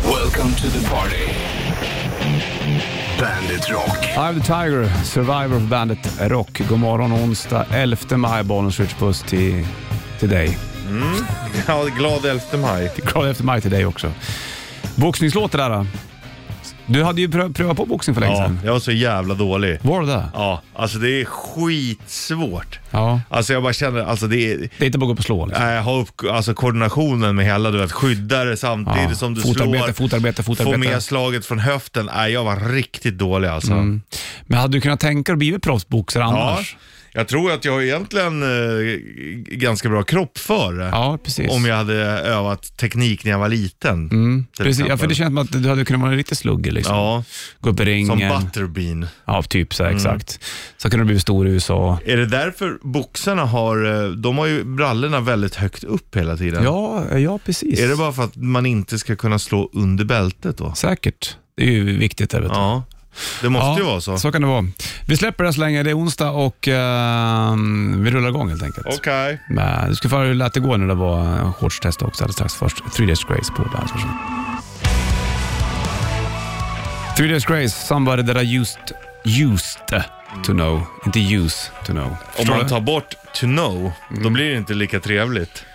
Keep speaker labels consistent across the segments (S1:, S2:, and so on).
S1: Welcome to the party. Bandit Rock.
S2: I'm the Tiger, survivor of bandet Rock. God morgon onsdag 11 maj, Bollnäs Ritchbuss till, till dig.
S3: Ja, glad 11 maj.
S2: Glad efter maj till dig också. Boxningslåt det där då. Du hade ju prö- prövat på boxning för länge
S3: Ja,
S2: sedan.
S3: jag var så jävla dålig.
S2: Var det det?
S3: Ja, alltså det är skitsvårt.
S2: Ja.
S3: Alltså jag bara känner, alltså det är...
S2: Det är inte bara att gå på slå liksom.
S3: Nej, ha upp alltså, koordinationen med hela, du vet, skydda det samtidigt
S2: Ja,
S3: som du
S2: fotarbete,
S3: slår.
S2: fotarbete, fotarbete.
S3: Få med slaget från höften. Nej, jag var riktigt dålig alltså.
S2: Men hade du kunnat tänka dig att bli proffsboxare
S3: Ja,
S2: Mm. annars?
S3: jag tror att jag har egentligen eh, ganska bra kropp för det.
S2: Ja, precis.
S3: Om jag hade övat teknik när jag var liten. till
S2: Mm. Precis, ja, för
S3: exempel.
S2: det känns som att du hade kunnat vara en riktig slugger liksom.
S3: Ja,
S2: Gå upp i
S3: som Mm.
S2: ringen.
S3: butterbean.
S2: Ja, typ så här, exakt. Så kunde du bli stor i USA.
S3: Är det därför boxarna har, eh, de har ju brallorna väldigt högt upp hela tiden?
S2: Ja, ja precis.
S3: Är det bara för att man inte ska kunna slå under bältet då?
S2: Säkert. Det är ju viktigt där vet du.
S3: Ja, det måste ju vara så.
S2: Så kan det vara. Vi släpper det här så länge. Det är onsdag och ehm, vi rullar igång helt enkelt.
S3: Okej.
S2: Men du ska få höra hur det lät igår när det var eh, shortstest också alldeles strax. Först Three Days Grace på Bandet. Varsågod. Three Days Grace, somebody that I used, used to know. Inte use to know.
S3: Om
S2: Förstår du?
S3: man
S2: Mm.
S3: tar bort to know, då blir det inte lika trevligt.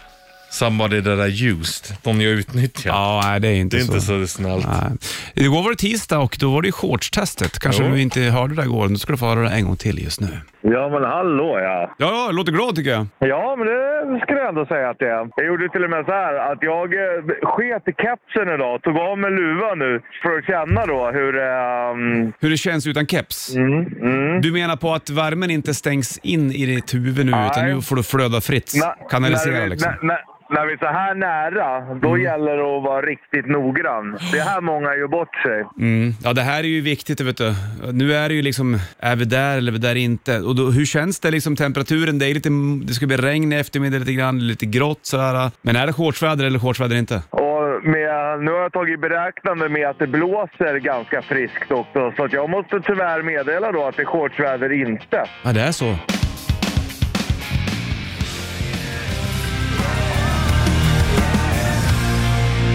S3: Somebody that I used, de jag utnyttjar.
S2: Ja, nej, det är inte
S3: det är
S2: så.
S3: inte så snällt.
S2: Nej. Igår var det tisdag och då var det ju shortstestet. Kanske
S3: Jo.
S2: du inte hörde det där igår, men då ska du få höra det en gång till just nu.
S4: Ja, men hallå ja.
S2: Ja, ja, det låter glad tycker jag.
S4: Ja, men det skulle jag ändå säga att det är. Jag gjorde till och med så här att jag eh, sket i kepsen idag, tog av mig luvan nu för att känna då hur... ehm,
S2: Hur det känns utan keps.
S4: mm, mm.
S2: Du menar på att värmen inte stängs in i ditt huvud nu, utan
S4: Nej.
S2: nu får du flöda fritt.
S4: När-
S2: Kanalisera
S4: när vi,
S2: liksom. Mm.
S4: När, när, när vi är så här nära, då gäller det att vara riktigt noggrann. Det är här många gör bort sig.
S2: Mm. Ja, det här är ju viktigt, vet du. Nu är det ju liksom, är vi där eller är vi där inte? Och då, hur känns det liksom, temperaturen? Det, är lite, det ska bli regn i eftermiddag lite grann, lite grått sådär. Men är det shortsväder eller shortsväder inte?
S4: Och med, nu har jag tagit i beräknande med att det blåser ganska friskt också, så att jag måste tyvärr meddela då att det är shortsväder inte.
S2: Ja, det är så.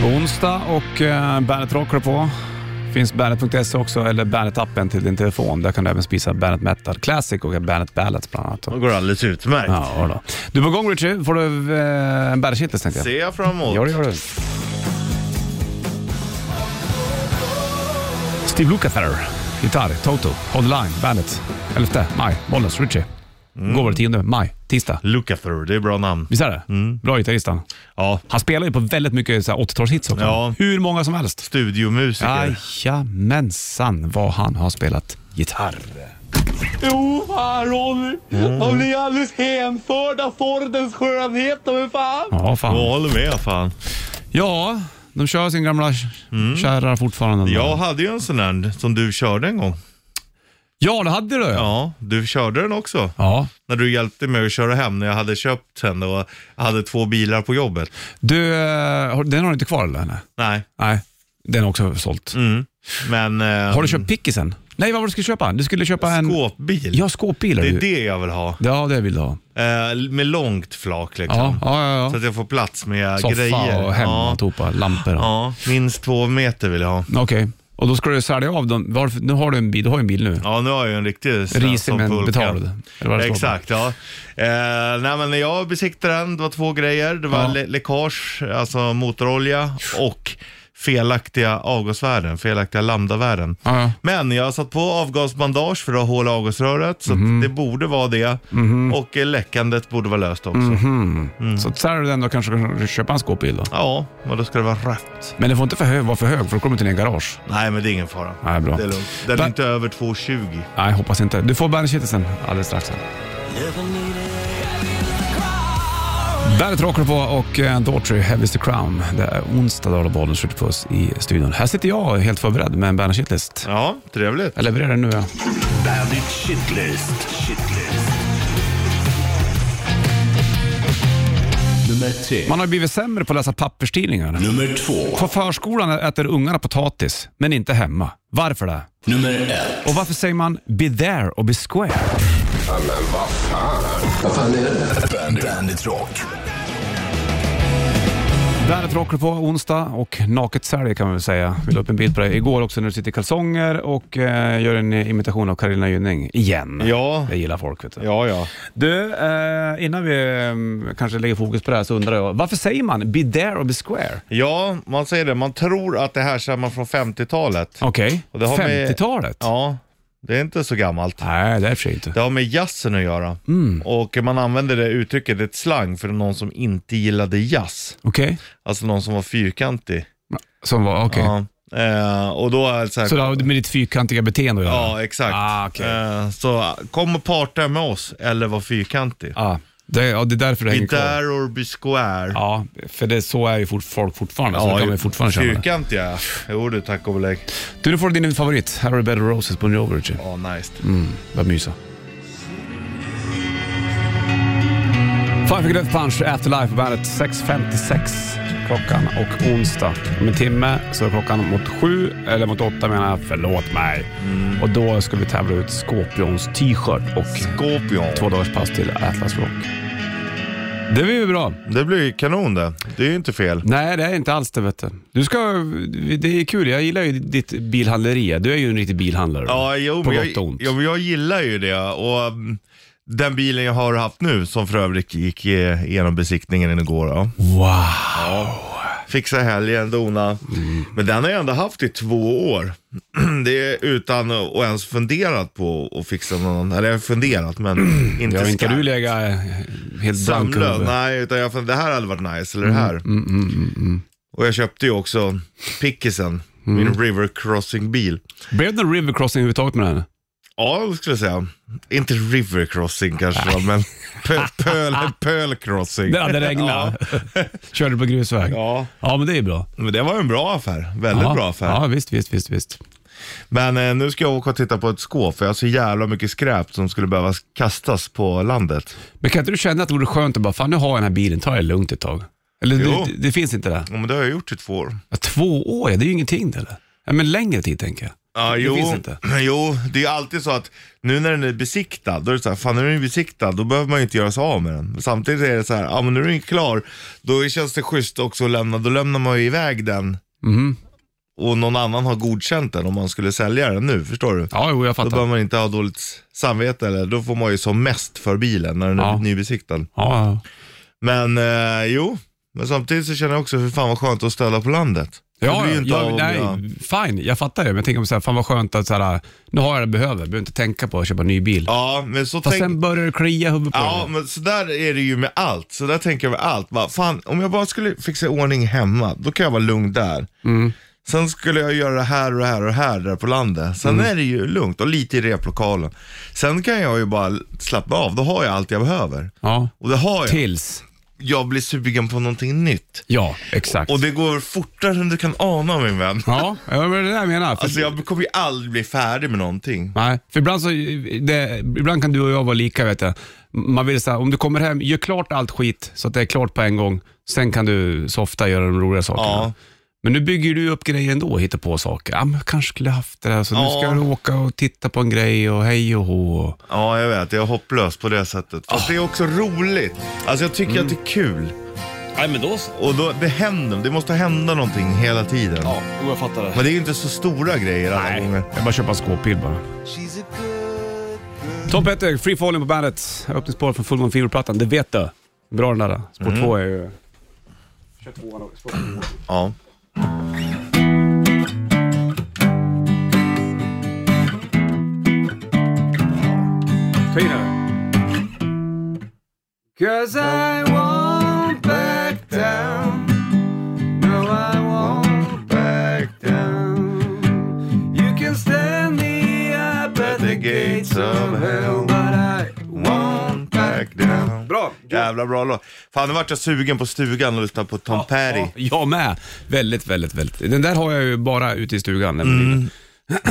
S2: Onsdag och eh, Bandet Rock har du på. Finns bandet.se E också, eller Bandet-appen till din telefon. Där kan du även spisa Bandet Metal Classic och Bandet Ballads bland annat.
S3: Det går alldeles utmärkt.
S2: Ja, då. Du är på gång Richie. Får du eh, en bärkittlers tänkte jag.
S3: Ser jag fram emot.
S2: Ja, det gör du. Steve Lukather, gitarr, Toto, Hold the Line, Bandet. 11 maj, Bollnäs, Ritchie. Går var det 10 maj, tisdag.
S3: Lukather, det är bra namn.
S2: Visst är det? Bra gitarrist han.
S3: Ja,
S2: Han spelar ju på väldigt mycket så här 80-talshits också.
S3: Ja.
S2: Hur många som helst.
S3: studiomusiker.
S2: Jajamensan vad han har spelat gitarr.
S5: Jo, fan Ronny.
S3: Mm.
S5: Man blir alldeles hänförd av Fordens skönhet. Men fan.
S2: Ja, fan.
S3: Jag håller med fan.
S2: Ja, de kör sin gamla kärra fortfarande.
S3: Jag hade ju en sån där som du körde en gång.
S2: ja, det hade du. Ja.
S3: Ja, du körde den också.
S2: ja.
S3: När du hjälpte mig att köra hem när jag hade köpt den och hade två bilar på jobbet.
S2: Du, eh, har- den har du inte kvar eller? Nej.
S3: Nej,
S2: Nej, den har också sålt.
S3: Mm. men... Eh,
S2: Mm. Har du köpt pickisen? Nej, vad var det du skulle köpa? Du skulle köpa en...
S3: Skåpbil.
S2: Ja, skåpbil. har
S3: Det
S2: du.
S3: är det jag vill ha.
S2: Ja, det vill du ha.
S3: Eh, med långt flak liksom.
S2: Ja, ja, ja.
S3: Så
S2: ja.
S3: att jag får plats med
S2: Soffa
S3: grejer.
S2: och hem och
S3: ja.
S2: alltihopa, lampor och...
S3: ja, minst två meter vill jag ha.
S2: Okej, och då ska du sälja av dem. Varför, nu har du en bil, du har ju en bil nu.
S3: Ja, nu har jag ju en riktig
S2: Risig
S3: Svensson
S2: men
S3: pulka.
S2: betald. Eller vad det står på.
S3: Exakt, ja. Eh, nej, men när jag besiktade den, det var två grejer. Det var
S2: Ja.
S3: lä- läckage, alltså motorolja och felaktiga avgasvärden, felaktiga lambdavärden.
S2: Ja, ja.
S3: Men jag har satt på avgasbandage för att ha hål i avgasröret, så att
S2: Mhm.
S3: det borde vara det. Och eh, läckandet borde vara löst också.
S2: Mhm.
S3: Mm.
S2: Så att säljer du den då kanske du kan köpa en skåpbil då.
S3: Ja, och då ska det vara rött.
S2: Men den får inte för hög, vara för hög för då kommer du inte ner i garage.
S3: Nej, men det är ingen fara.
S2: Nej, bra.
S3: Det är lugnt. Den
S2: Va-
S3: är inte över 2,20.
S2: Nej, hoppas inte. Du får bandet-kittelsen alldeles strax. här. Bandet rockar på och eh, Daughtry, Heavy is the Crown. Det är onsdag, då har bollen skjuter på oss i studion. Här sitter jag helt förberedd med en bandet-shitlist.
S3: Ja, trevligt.
S2: Jag levererar den nu ja.
S1: Bandit Shitlist. Shitlist. Nummer tre.
S2: Man har blivit sämre på att läsa papperstidningar.
S1: Nummer två.
S2: På förskolan äter ungarna potatis, men inte hemma. Varför det?
S1: Nummer ett.
S2: Och varför säger man “be there” och “be square”?
S1: Vad fan är det? Bandit, Bandit Rock.
S2: Bandet Rocker på onsdag och naket sälj kan man väl säga. Vi la upp en bild på dig igår också när du sitter i kalsonger och eh, gör en imitation av Carolina Gynning igen.
S3: Ja.
S2: Det gillar folk vet du.
S3: Ja, ja.
S2: Du, eh, innan vi eh, kanske lägger fokus på det här så undrar jag, varför säger man be there or be square?
S3: Ja, man säger det. Man tror att det härstammar från 50-talet.
S2: Okej,
S3: Och det har med-
S2: 50-talet?
S3: Ja, det är inte så gammalt.
S2: Nej, det är i och för sig inte.
S3: Det har med jazzen att göra.
S2: Mm.
S3: Och man använder det uttrycket, ett slang, för någon som inte gillade jazz.
S2: Okej,
S3: Alltså någon som var fyrkantig.
S2: som var, okej.
S3: Ja. Eh, och då är det så här...
S2: Så det har med ditt fyrkantiga beteende att göra?
S3: Ja, exakt.
S2: Ah, okej.
S3: Eh, så kom och parta med oss, eller var fyrkantig.
S2: Ja, Ah. det, ja, det är därför det
S3: Be
S2: hänger kvar.
S3: there or be square.
S2: Ja, för det, så är ju fort, folk fortfarande. så det kan man ju fortfarande känna.
S3: fyrkantiga. Jo du, tack och belägg.
S2: Du, nu får du din favorit. Harry Bed of Roses på New Overage.
S3: Ja, nice.
S2: Mm. Börjar mysa. Five Finger Death Punch, Afterlife på bandet. 6.56 klockan och onsdag. Om en timme så är klockan mot sju, eller mot åtta menar jag. Förlåt mig.
S3: Mm.
S2: Och då ska vi tävla ut Scorpions t-shirt och
S3: Scorpion.
S2: två dagars pass till Atlas Rock. Det blir ju bra.
S3: Det blir ju kanon det. Det är ju inte fel.
S2: Nej, det är inte alls det vet du. du ska, det är kul, jag gillar ju ditt bilhandleri. Du är ju en riktig bilhandlare.
S3: Ja, jo,
S2: på
S3: men
S2: gott
S3: jag,
S2: och ont.
S3: Ja, men jag gillar ju det. Och mm, den bilen jag har haft nu, som för övrigt gick eh, igenom besiktningen igår. Ja.
S2: Wow.
S3: Fixa helgen, dona.
S2: Mm.
S3: Men den har jag ändå haft i två år. det är utan att att ens funderat på att fixa någon. Eller jag har funderat, men inte
S2: Ja, inte
S3: skarpt.
S2: du lägga eh, helt blank
S3: Samlöd?
S2: huvud.
S3: Nej, utan jag fann, det här hade varit nice, eller det
S2: Mm,
S3: här. Och jag köpte ju också Pickisen,
S2: Mm.
S3: min River Crossing-bil.
S2: Blev det någon river crossing överhuvudtaget med den? här?
S3: Ja, det skulle jag säga. Inte River Crossing kanske, men pö, pöl, pöl Crossing.
S2: Det hade regnat. Körde på grusväg. Ja.
S3: Ja,
S2: men det är bra.
S3: men det var en bra affär. Väldigt
S2: ja.
S3: bra affär.
S2: Ja, visst, visst, visst. visst.
S3: Men eh, nu ska jag åka och titta på ett skåp, för jag har så jävla mycket skräp som skulle behöva kastas på landet.
S2: Men kan inte du känna att det vore skönt att bara, fan nu har jag den här bilen, ta det lugnt ett tag. Eller
S3: Jo.
S2: det, det finns inte det?
S3: Ja, men det har jag gjort i två år.
S2: Ja, två år, ja, det är ju ingenting det eller? Ja, men längre tid tänker jag.
S3: Ja,
S2: det
S3: jo,
S2: finns inte.
S3: jo, det är ju alltid så att nu när den är besiktad, då är det så här, fan nu är den besiktad, då behöver man ju inte göra sig av med den. Men Samtidigt är det så här, ja men nu är den ju klar, då känns det schysst också att lämna, då lämnar man ju iväg den
S2: Mhm.
S3: och någon annan har godkänt den om man skulle sälja den nu, förstår du?
S2: Ja, jo, jag
S3: Då
S2: fattar.
S3: behöver man inte ha dåligt samvete, eller då får man ju som mest för bilen när den är
S2: Ja.
S3: nybesiktad.
S2: Ja, ja.
S3: Men eh, jo, men samtidigt så känner jag också, för fan vad skönt att ställa på landet. Det
S2: Ja,
S3: blir ju
S2: ja,
S3: inte av
S2: ja
S3: om
S2: nej,
S3: jag-
S2: fine, jag fattar det. Men jag tänker om så här, fan vad skönt att så här, nu har jag det jag behöver, behöver inte tänka på att köpa en ny bil.
S3: Ja, men så
S2: Fast
S3: tänk-
S2: sen börjar det klia huvudet på
S3: Ja,
S2: dig.
S3: men så där är det ju med allt. Så där tänker jag med allt. Bara, fan, om jag bara skulle fixa i ordning hemma, då kan jag vara lugn där. Sen skulle jag göra det här och det här och det här där på landet. Sen är det ju lugnt och lite i replokalen. Sen kan jag ju bara slappna av, då har jag allt jag behöver.
S2: Ja.
S3: Och det har jag.
S2: Tills.
S3: Jag blir sugen på någonting nytt.
S2: Ja, exakt.
S3: Och det går fortare än du kan ana min vän.
S2: Ja, ja, men det är det jag menar. För,
S3: Alltså jag kommer ju aldrig bli färdig med någonting.
S2: nej, för ibland, så, det, ibland kan du och jag vara lika. Vet jag. Man vill säga, om du kommer hem, gör klart allt skit så att det är klart på en gång. Sen kan du softa och göra de roliga sakerna.
S3: Ja.
S2: Men nu bygger du upp grejer ändå och hittar på saker. Ja, men jag kanske skulle haft det där, så nu
S3: Ja.
S2: ska du åka och titta på en grej och hej och hå.
S3: Ja, jag vet. Jag är hopplös på det sättet. Fast det är också roligt. Alltså jag tycker att det är kul.
S2: Nej, men då
S3: Och då, det händer, det måste hända någonting hela tiden.
S2: Ja, jag fattar det.
S3: Men det är ju inte så stora grejer alla
S2: Nej,
S3: gånger.
S2: jag bara köpa en skåpbil bara. Tom Petter, Free Falling på bandet. Öppningsspår från Full Moon Fever-plattan, det vet du. Bra den där. Spår
S3: Mm.
S2: två är ju... Kör tvåan också. Spår två.
S3: Ja.
S2: Ta in den. Cause I won't back down No I won't back down You can stand me up at the gates of hell But I won't back down Bra!
S3: Jävla bra låt. Fan, nu vart jag sugen på stugan och lyssna på Tom Perry.
S2: Jag med. Väldigt, väldigt, väldigt. Den där har jag ju bara ute i stugan. nämligen.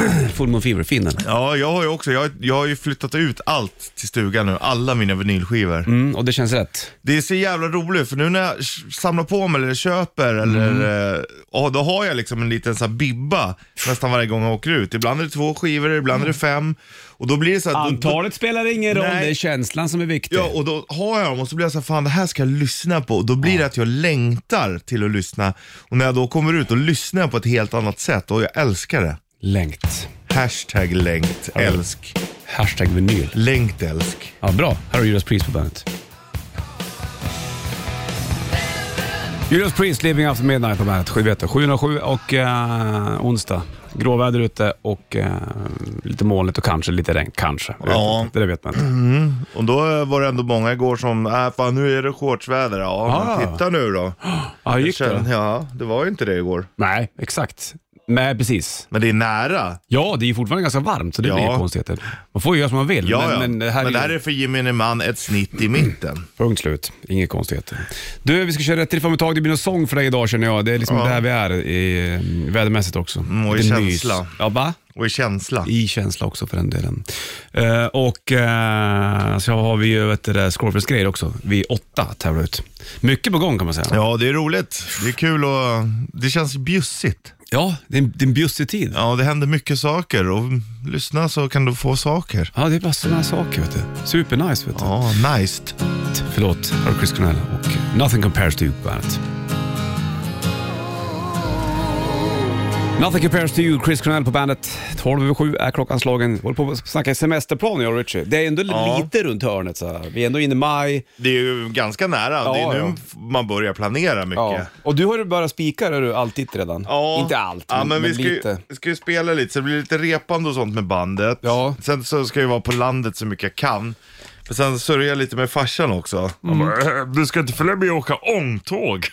S2: Full Moon Fever, fin den.
S3: Ja, jag har ju också, jag, jag har ju flyttat ut allt till stugan nu, alla mina vinylskivor.
S2: Mm, och det känns rätt.
S3: Det är så jävla roligt för nu när jag samlar på mig eller köper
S2: Mm.
S3: eller, eh, ja, då har jag liksom en liten så här bibba nästan varje gång jag åker ut. Ibland är det två skivor, ibland är det fem. Och då blir det så att,
S2: Mm. Antalet spelar ingen roll,
S3: Nej.
S2: det är känslan som är viktig.
S3: Ja, och då har jag dem och så blir jag så här, fan det här ska jag lyssna på. Och då blir det att jag längtar till att lyssna. Och när jag då kommer ut och lyssnar jag på ett helt annat sätt och jag älskar det.
S2: Längt.
S3: Hashtag längt, älsk.
S2: Hashtag vinyl.
S3: Längt älsk.
S2: Ja, bra. Här har Judas Priest på bandet. Judas Priest, Living After Midnight på bandet. 7 707 och eh, onsdag. Gråväder ute och eh, lite molnigt och kanske lite regn. Kanske. Jag vet
S3: Ja.
S2: inte. Det där vet man inte.
S3: Och då var det ändå många igår som, äh, fan nu är det shortsväder. Ja,
S2: Ah.
S3: men titta nu då.
S2: Ja, hur gick det
S3: Sen,
S2: då?
S3: ja, det var ju inte det igår.
S2: Nej, exakt. Nej, precis.
S3: Men det är nära.
S2: Ja, det är ju fortfarande ganska varmt så det
S3: Ja.
S2: blir konstigheter. Man får ju göra som man vill.
S3: Ja,
S2: men,
S3: ja.
S2: men det här är, ju-
S3: för gemene man ett snitt i mitten.
S2: Punkt slut. Inga konstigheter. Du, vi ska köra rätt till fram ett tag. Det blir någon sång för dig idag känner jag. Det är liksom där vi är i, eh, vädermässigt också.
S3: Mm, och i
S2: Lite
S3: känsla.
S2: Ja, va?
S3: Och i känsla.
S2: I känsla också för den delen. Eh, och eh, så har vi ju vet du, det, Scorpions grejer också. Vi är åtta tävlar ut. Mycket på gång kan man säga.
S3: Ja, det är roligt. Det är kul och det känns bjussigt.
S2: Ja, det är en, det är en bjussig tid. Ja.
S3: Ja, det händer mycket saker och lyssna så kan du få saker.
S2: det är bara sådana saker vet du. Supernice vet du.
S3: Ja, nice.
S2: Förlåt, här har Chris Cornell och Nothing Compares to You på bandet. Nothing compares to you, Chris Cornell på bandet. 12 över 7 är klockan slagen. Vi håller på att snacka semesterplan jag och Richie. Det är ändå
S3: Ja.
S2: lite runt hörnet så här. Vi är ändå inne i maj.
S3: Det är ju ganska nära. det
S2: Ja,
S3: är nu
S2: ja.
S3: f- man börjar planera mycket.
S2: Ja. Och du har ju börjat spika har du alltid redan.
S3: Ja.
S2: Inte allt,
S3: ja, men, vi ska
S2: lite.
S3: ju, ska ju spela lite, så det blir lite repande och sånt med bandet.
S2: Ja.
S3: Sen så ska jag vara på landet så mycket jag kan. Men sen sörjer jag lite med farsan också. Han Bara, "Äh, du ska inte följa med och åka ångtåg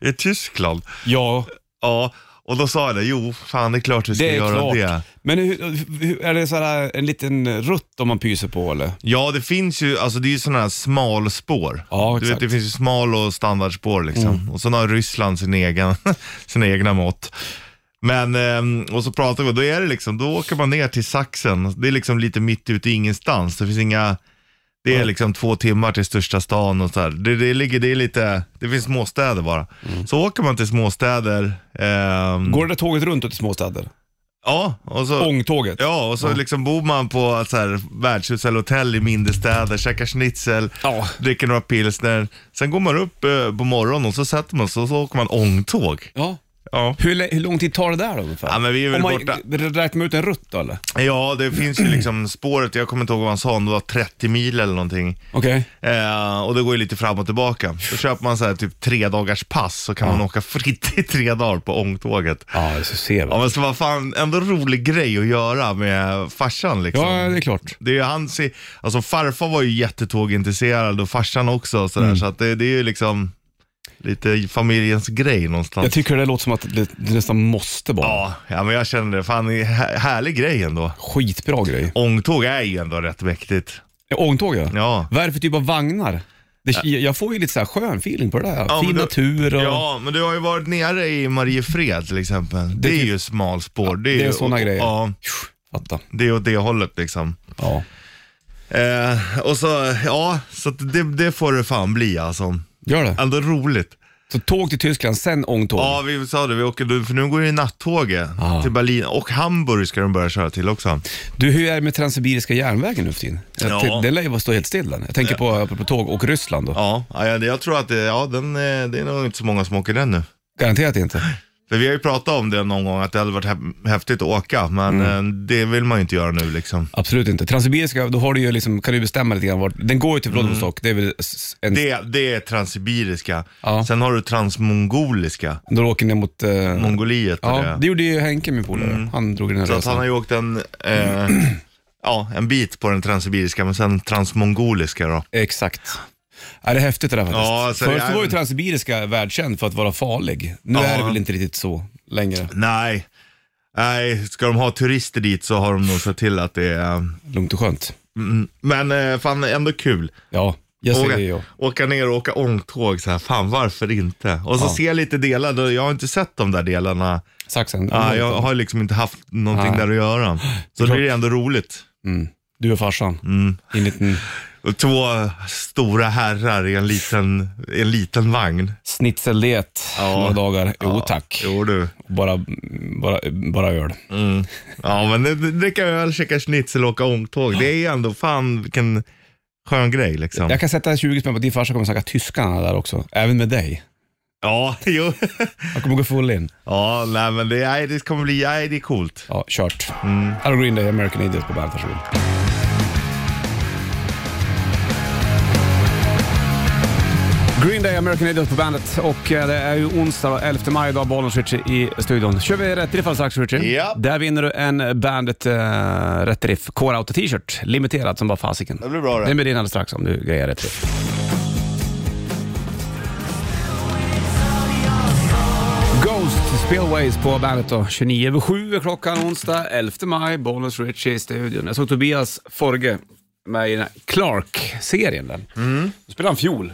S3: i Tyskland.
S2: Ja,
S3: Ja, och då sa jag det, jo fan det är klart vi ska
S2: det är
S3: göra
S2: klart.
S3: det.
S2: Men hur, hur, är det så här en liten rutt om man pyser på eller?
S3: Ja, det finns ju, alltså det är ju sådana här smalspår.
S2: Ja,
S3: du
S2: exakt. Mm.
S3: vet, det finns ju smal och standardspår liksom. Och sen har Ryssland sin egen, sina egna mått. Men, ehm, och så pratar vi, då är det liksom, då åker man ner till Saxen. Det är liksom lite mitt ute i ingenstans. Det finns inga, det är liksom två timmar till största stan och så här. Det, det ligger, det är lite, det finns småstäder bara.
S2: Mm.
S3: Så åker man till småstäder. ehm,
S2: Går det där tåget runt ut i småstäder?
S3: Ja, och så...
S2: Ångtåget?
S3: Ja, och så liksom bor man på så här, värdshus eller hotell i mindre städer, käkar schnitzel,
S2: Ja.
S3: dricker några pilsner. Sen går man upp eh, på morgonen och så sätter man sig och så åker man ångtåg.
S2: ja.
S3: Ja.
S2: Hur, lä- hur lång tid tar det där då ungefär?
S3: Ja, men vi är väl
S2: Om man
S3: borta-
S2: r- räknar man ut en rutt då eller?
S3: ja, det finns ju liksom spåret, jag kommer inte ihåg vad han sa, om det var 30 mil eller någonting.
S2: Okej.
S3: Eh, och det går ju lite fram och tillbaka. Då köper man så här typ tre dagars pass så kan man åka fritt i tre dagar på ångtåget.
S2: Ja, det ser vi.
S3: Ja men så var fan ändå rolig grej att göra med farsan liksom.
S2: Ja, det är klart.
S3: Det är ju hans, alltså farfar var ju jättetågintresserad och farsan också och
S2: Mm.
S3: sådär, så att det, det är ju liksom lite familjens grej någonstans.
S2: Jag tycker det låter som att det, det nästan måste vara.
S3: ja, ja, men jag känner det. Fan, det är här- härlig grej ändå.
S2: Skitbra grej.
S3: Ångtåg är ju ändå rätt mäktigt.
S2: Ångtåg ja.
S3: Ja.
S2: Vad är det för typ av vagnar? Det, jag får ju lite så här skön feeling på det där.
S3: Ja,
S2: fin
S3: men du-
S2: natur och...
S3: Ja, men du har ju varit nere i Mariefred till exempel. Det,
S2: Det
S3: är
S2: typ-
S3: ju smalspår. Det är,
S2: det är
S3: ju-
S2: såna grejer.
S3: Ja,
S2: Fatta.
S3: det är åt det hållet liksom.
S2: Ja.
S3: Eh, och så, ja, så att det, det får det fan bli alltså.
S2: Gör det.
S3: Ändå roligt.
S2: Så tåg till Tyskland, sen ångtåg.
S3: Ja, vi sa det. Vi åker, för nu går det nattåget till Berlin och Hamburg ska de börja köra till också.
S2: Du, hur är det med Transsibiriska järnvägen nu för tiden?
S3: Ja.
S2: Ja. Den lär ju bara stå helt still. den. Jag tänker på, apropå tåg och Ryssland då.
S3: Ja, ja, jag- jag tror att det, ja, den, eh, det är nog inte så många som åker den nu.
S2: Garanterat inte.
S3: För vi har ju pratat om det någon gång, att det hade varit hä- häftigt att åka, men
S2: Mm.
S3: eh, det vill man ju inte göra nu liksom.
S2: Absolut inte. Transsibiriska, då har du ju liksom, kan du bestämma lite grann vart. Den går ju till Vladivostok. Det är väl s- en...
S3: Mm. Det, det är transsibiriska.
S2: Ja.
S3: Sen har du transmongoliska,
S2: Då åker ni mot... eh,
S3: Mongoliet och
S2: Ja, det alltså- gjorde ju Henke, min polare. Han drog den här
S3: Så att han har
S2: resan.
S3: ju åkt en, eh, ja, en bit på den transsibiriska, men sen transmongoliska då.
S2: Exakt. Ja, det är häftigt det där faktiskt.
S3: Ja, alltså,
S2: Först
S3: det är-
S2: var ju Transsibiriska världskänd för att vara farlig. Nu
S3: Ja.
S2: är det väl inte riktigt så längre.
S3: Nej. Nej, ska de ha turister dit så har de nog sett till att det är... eh,
S2: Lugnt och skönt.
S3: Mm, Men eh, fan, ändå kul.
S2: Ja, Jag säger
S3: åka,
S2: ja.
S3: åka ner och åka ångtåg så här, fan varför inte? Och så
S2: Ja.
S3: se lite delar, då- jag har inte sett de där delarna.
S2: Saxen.
S3: Ja, jag har liksom inte haft någonting
S2: Nej.
S3: där att göra. Så det blir ändå roligt.
S2: mm. Du och farsan.
S3: Mm.
S2: I en liten
S3: Och två stora herrar i en liten, i en liten vagn.
S2: schnitzeldiet några dagar. Jo tack.
S3: Jo du.
S2: Bara, bara, bara öl.
S3: Ja men det- det- dricka öl, käka schnitzel och åka ångtåg. Det är ju ändå fan vilken skön grej liksom.
S2: Jag kan sätta 20 spänn på att din farsa kommer snacka tyskarna där också. Även med dig.
S3: Ja, jo.
S2: Han kommer gå full in.
S3: Ja, nej men det, nej, det kommer bli, nej, det är coolt.
S2: Ja, kört. Här har Green Day, American Idiot på bandet. Varsågod. Green Day, American Idiot på bandet och eh, det är ju onsdag 11 maj idag, Bollnäs Ritchie i studion. kör vi rätt riff alldeles strax Ritchie.
S3: Ja.
S2: Där vinner du en bandet eh, rätt riff, Core Auto T-shirt. Limiterat som bara fasiken.
S3: Det blir bra det.
S2: Den blir din alldeles strax om du grejar rätt riff. Ghost Spillways på bandet då. 29 över 7 är klockan onsdag 11 maj. Bonus Richie i studion. Jag såg Tobias Forge med i den här Clark-serien. Den. Då spelar han fiol.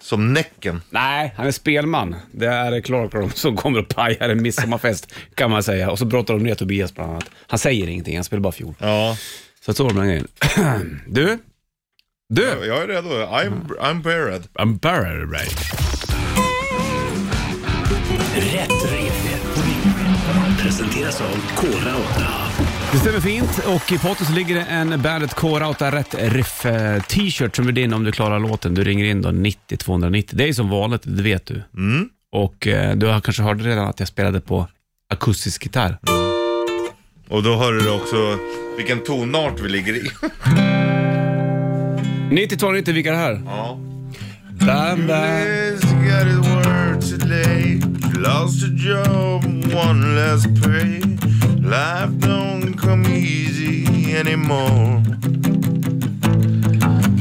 S3: Som Näcken.
S2: Nej, han är spelman. Det är Clark och de som kommer och pajar en midsommarfest kan man säga. Och så brottar de ner Tobias bland annat. Han säger ingenting, han spelar bara fiol.
S3: Ja,
S2: Så att så var det med den grejen. Du? Du?
S3: jag är redo. I'm, I'm prepared.
S2: I'm barrel right.
S6: Rätt riff. Presenteras av Kora 8.
S2: Det stämmer fint och i potten så ligger det en Bandet K-Rauta Rätt Riff eh, t-shirt som är din om du klarar låten. Du ringer in då 90 290. Det är ju som vanligt, det vet du. Och eh, du har kanske hörde redan att jag spelade på akustisk gitarr.
S3: Och då hör du också vilken tonart vi ligger i.
S2: 90 290, vilka är det här?
S3: Ja.
S2: Bam, bam.
S3: This got his word today. Lost a job, one less pay. Life don't come easy anymore.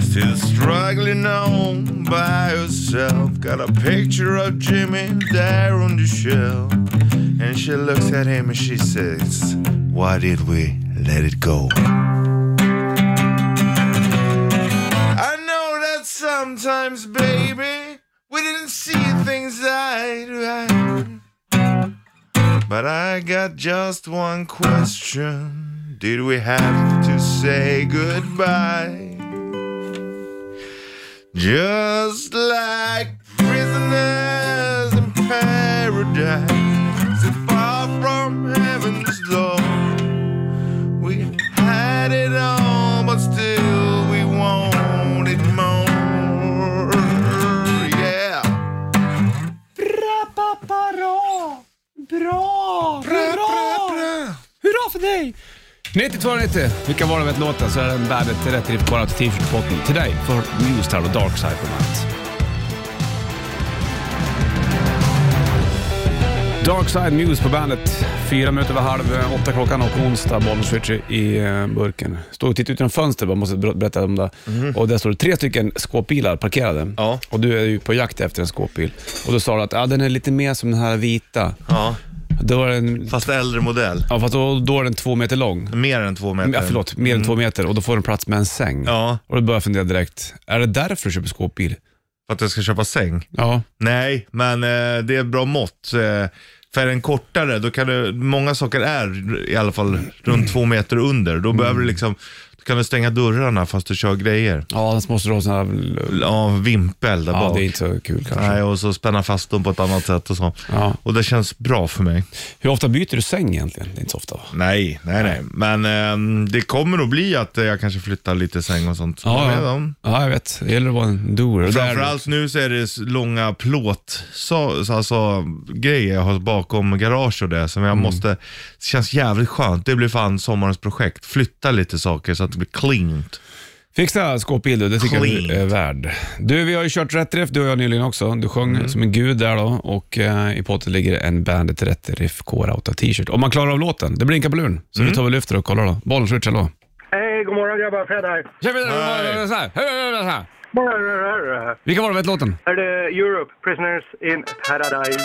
S3: Still struggling on by herself. Got a picture of Jimmy there on the shelf. And she looks at him and she says, Why did we let it go? I know that sometimes, baby, we didn't see things eye to eye. But I got just one question Did we have to say goodbye? Just like prisoners in paradise, so far from heaven's door. We had it all, but still we wanted more. Yeah.
S2: Bra!
S3: bra.
S2: Hurra för dig! 9290, vilka var det med låten så är den Bandet Rätt Riff K-Rauta t-shirt på potten. Till dig för Newstar och Dark Side på bandet. Darkside News på bandet. Fyra minuter över halv eh, åtta klockan och onsdag. Bollnäs Ritchie i eh, burken. Står och tittar ut genom fönstret bara, måste ber- berätta om det. Och där står det tre stycken skåpbilar parkerade.
S3: Ja.
S2: Och du är ju på jakt efter en skåpbil. Och då sa du att ah, den är lite mer som den här vita.
S3: Ja,
S2: Då är den,
S3: fast äldre modell.
S2: ja, fast då, då är den två meter lång.
S3: Mer än två meter.
S2: Ja, förlåt, mer än två meter och då får den plats med en säng.
S3: Ja,
S2: Och då börjar jag fundera direkt, är det därför du köper skåpbil?
S3: för att jag ska köpa säng.
S2: Ja.
S3: Nej, men eh, det är bra mått. Eh, för en kortare, då kan du, många saker är i alla fall runt två meter under. Då
S2: Mm.
S3: behöver du liksom, då kan du stänga dörrarna fast du kör grejer.
S2: Ja, den måste du ha sån här...
S3: Ja, vimpel där
S2: Ja,
S3: bak.
S2: det är inte så kul kanske.
S3: Nej, och så spänna fast dem på ett annat sätt och så.
S2: Ja.
S3: Och det känns bra för mig.
S2: Hur ofta byter du säng egentligen? Det är inte så ofta va?
S3: Nej, nej, nej. Men ehm, det kommer att bli att eh, jag kanske flyttar lite säng och sånt. Jag vet om.
S2: ja, jag vet. Det gäller att vara en doer. Och där-
S3: Framförallt nu så är det s- långa plåt, så, så, alltså, grejer jag har bakom garage och det som
S2: Mm.
S3: jag måste, det känns jävligt skönt. Det blir fan sommarens projekt. Flytta lite saker så att det blir cleant.
S2: Fixa skåpbil du, det tycker jag
S3: Clean.
S2: du är värd. Du, vi har ju kört rätt riff, du och jag nyligen också. Du sjöng som en gud där då och eh, i potten ligger en Bandet Rätt Riff K-Rauta t-shirt. Om man klarar av låten, det blinkar på luren. Så vi tar väl lyfter och kollar då. Bollen switch, hallå.
S4: Hej, god morgon grabbar. Fred här.
S2: Kör vi så här. Hör, hör, hör, så här. Vilka var det med låten?
S4: Är det Europe, Prisoners in Paradise?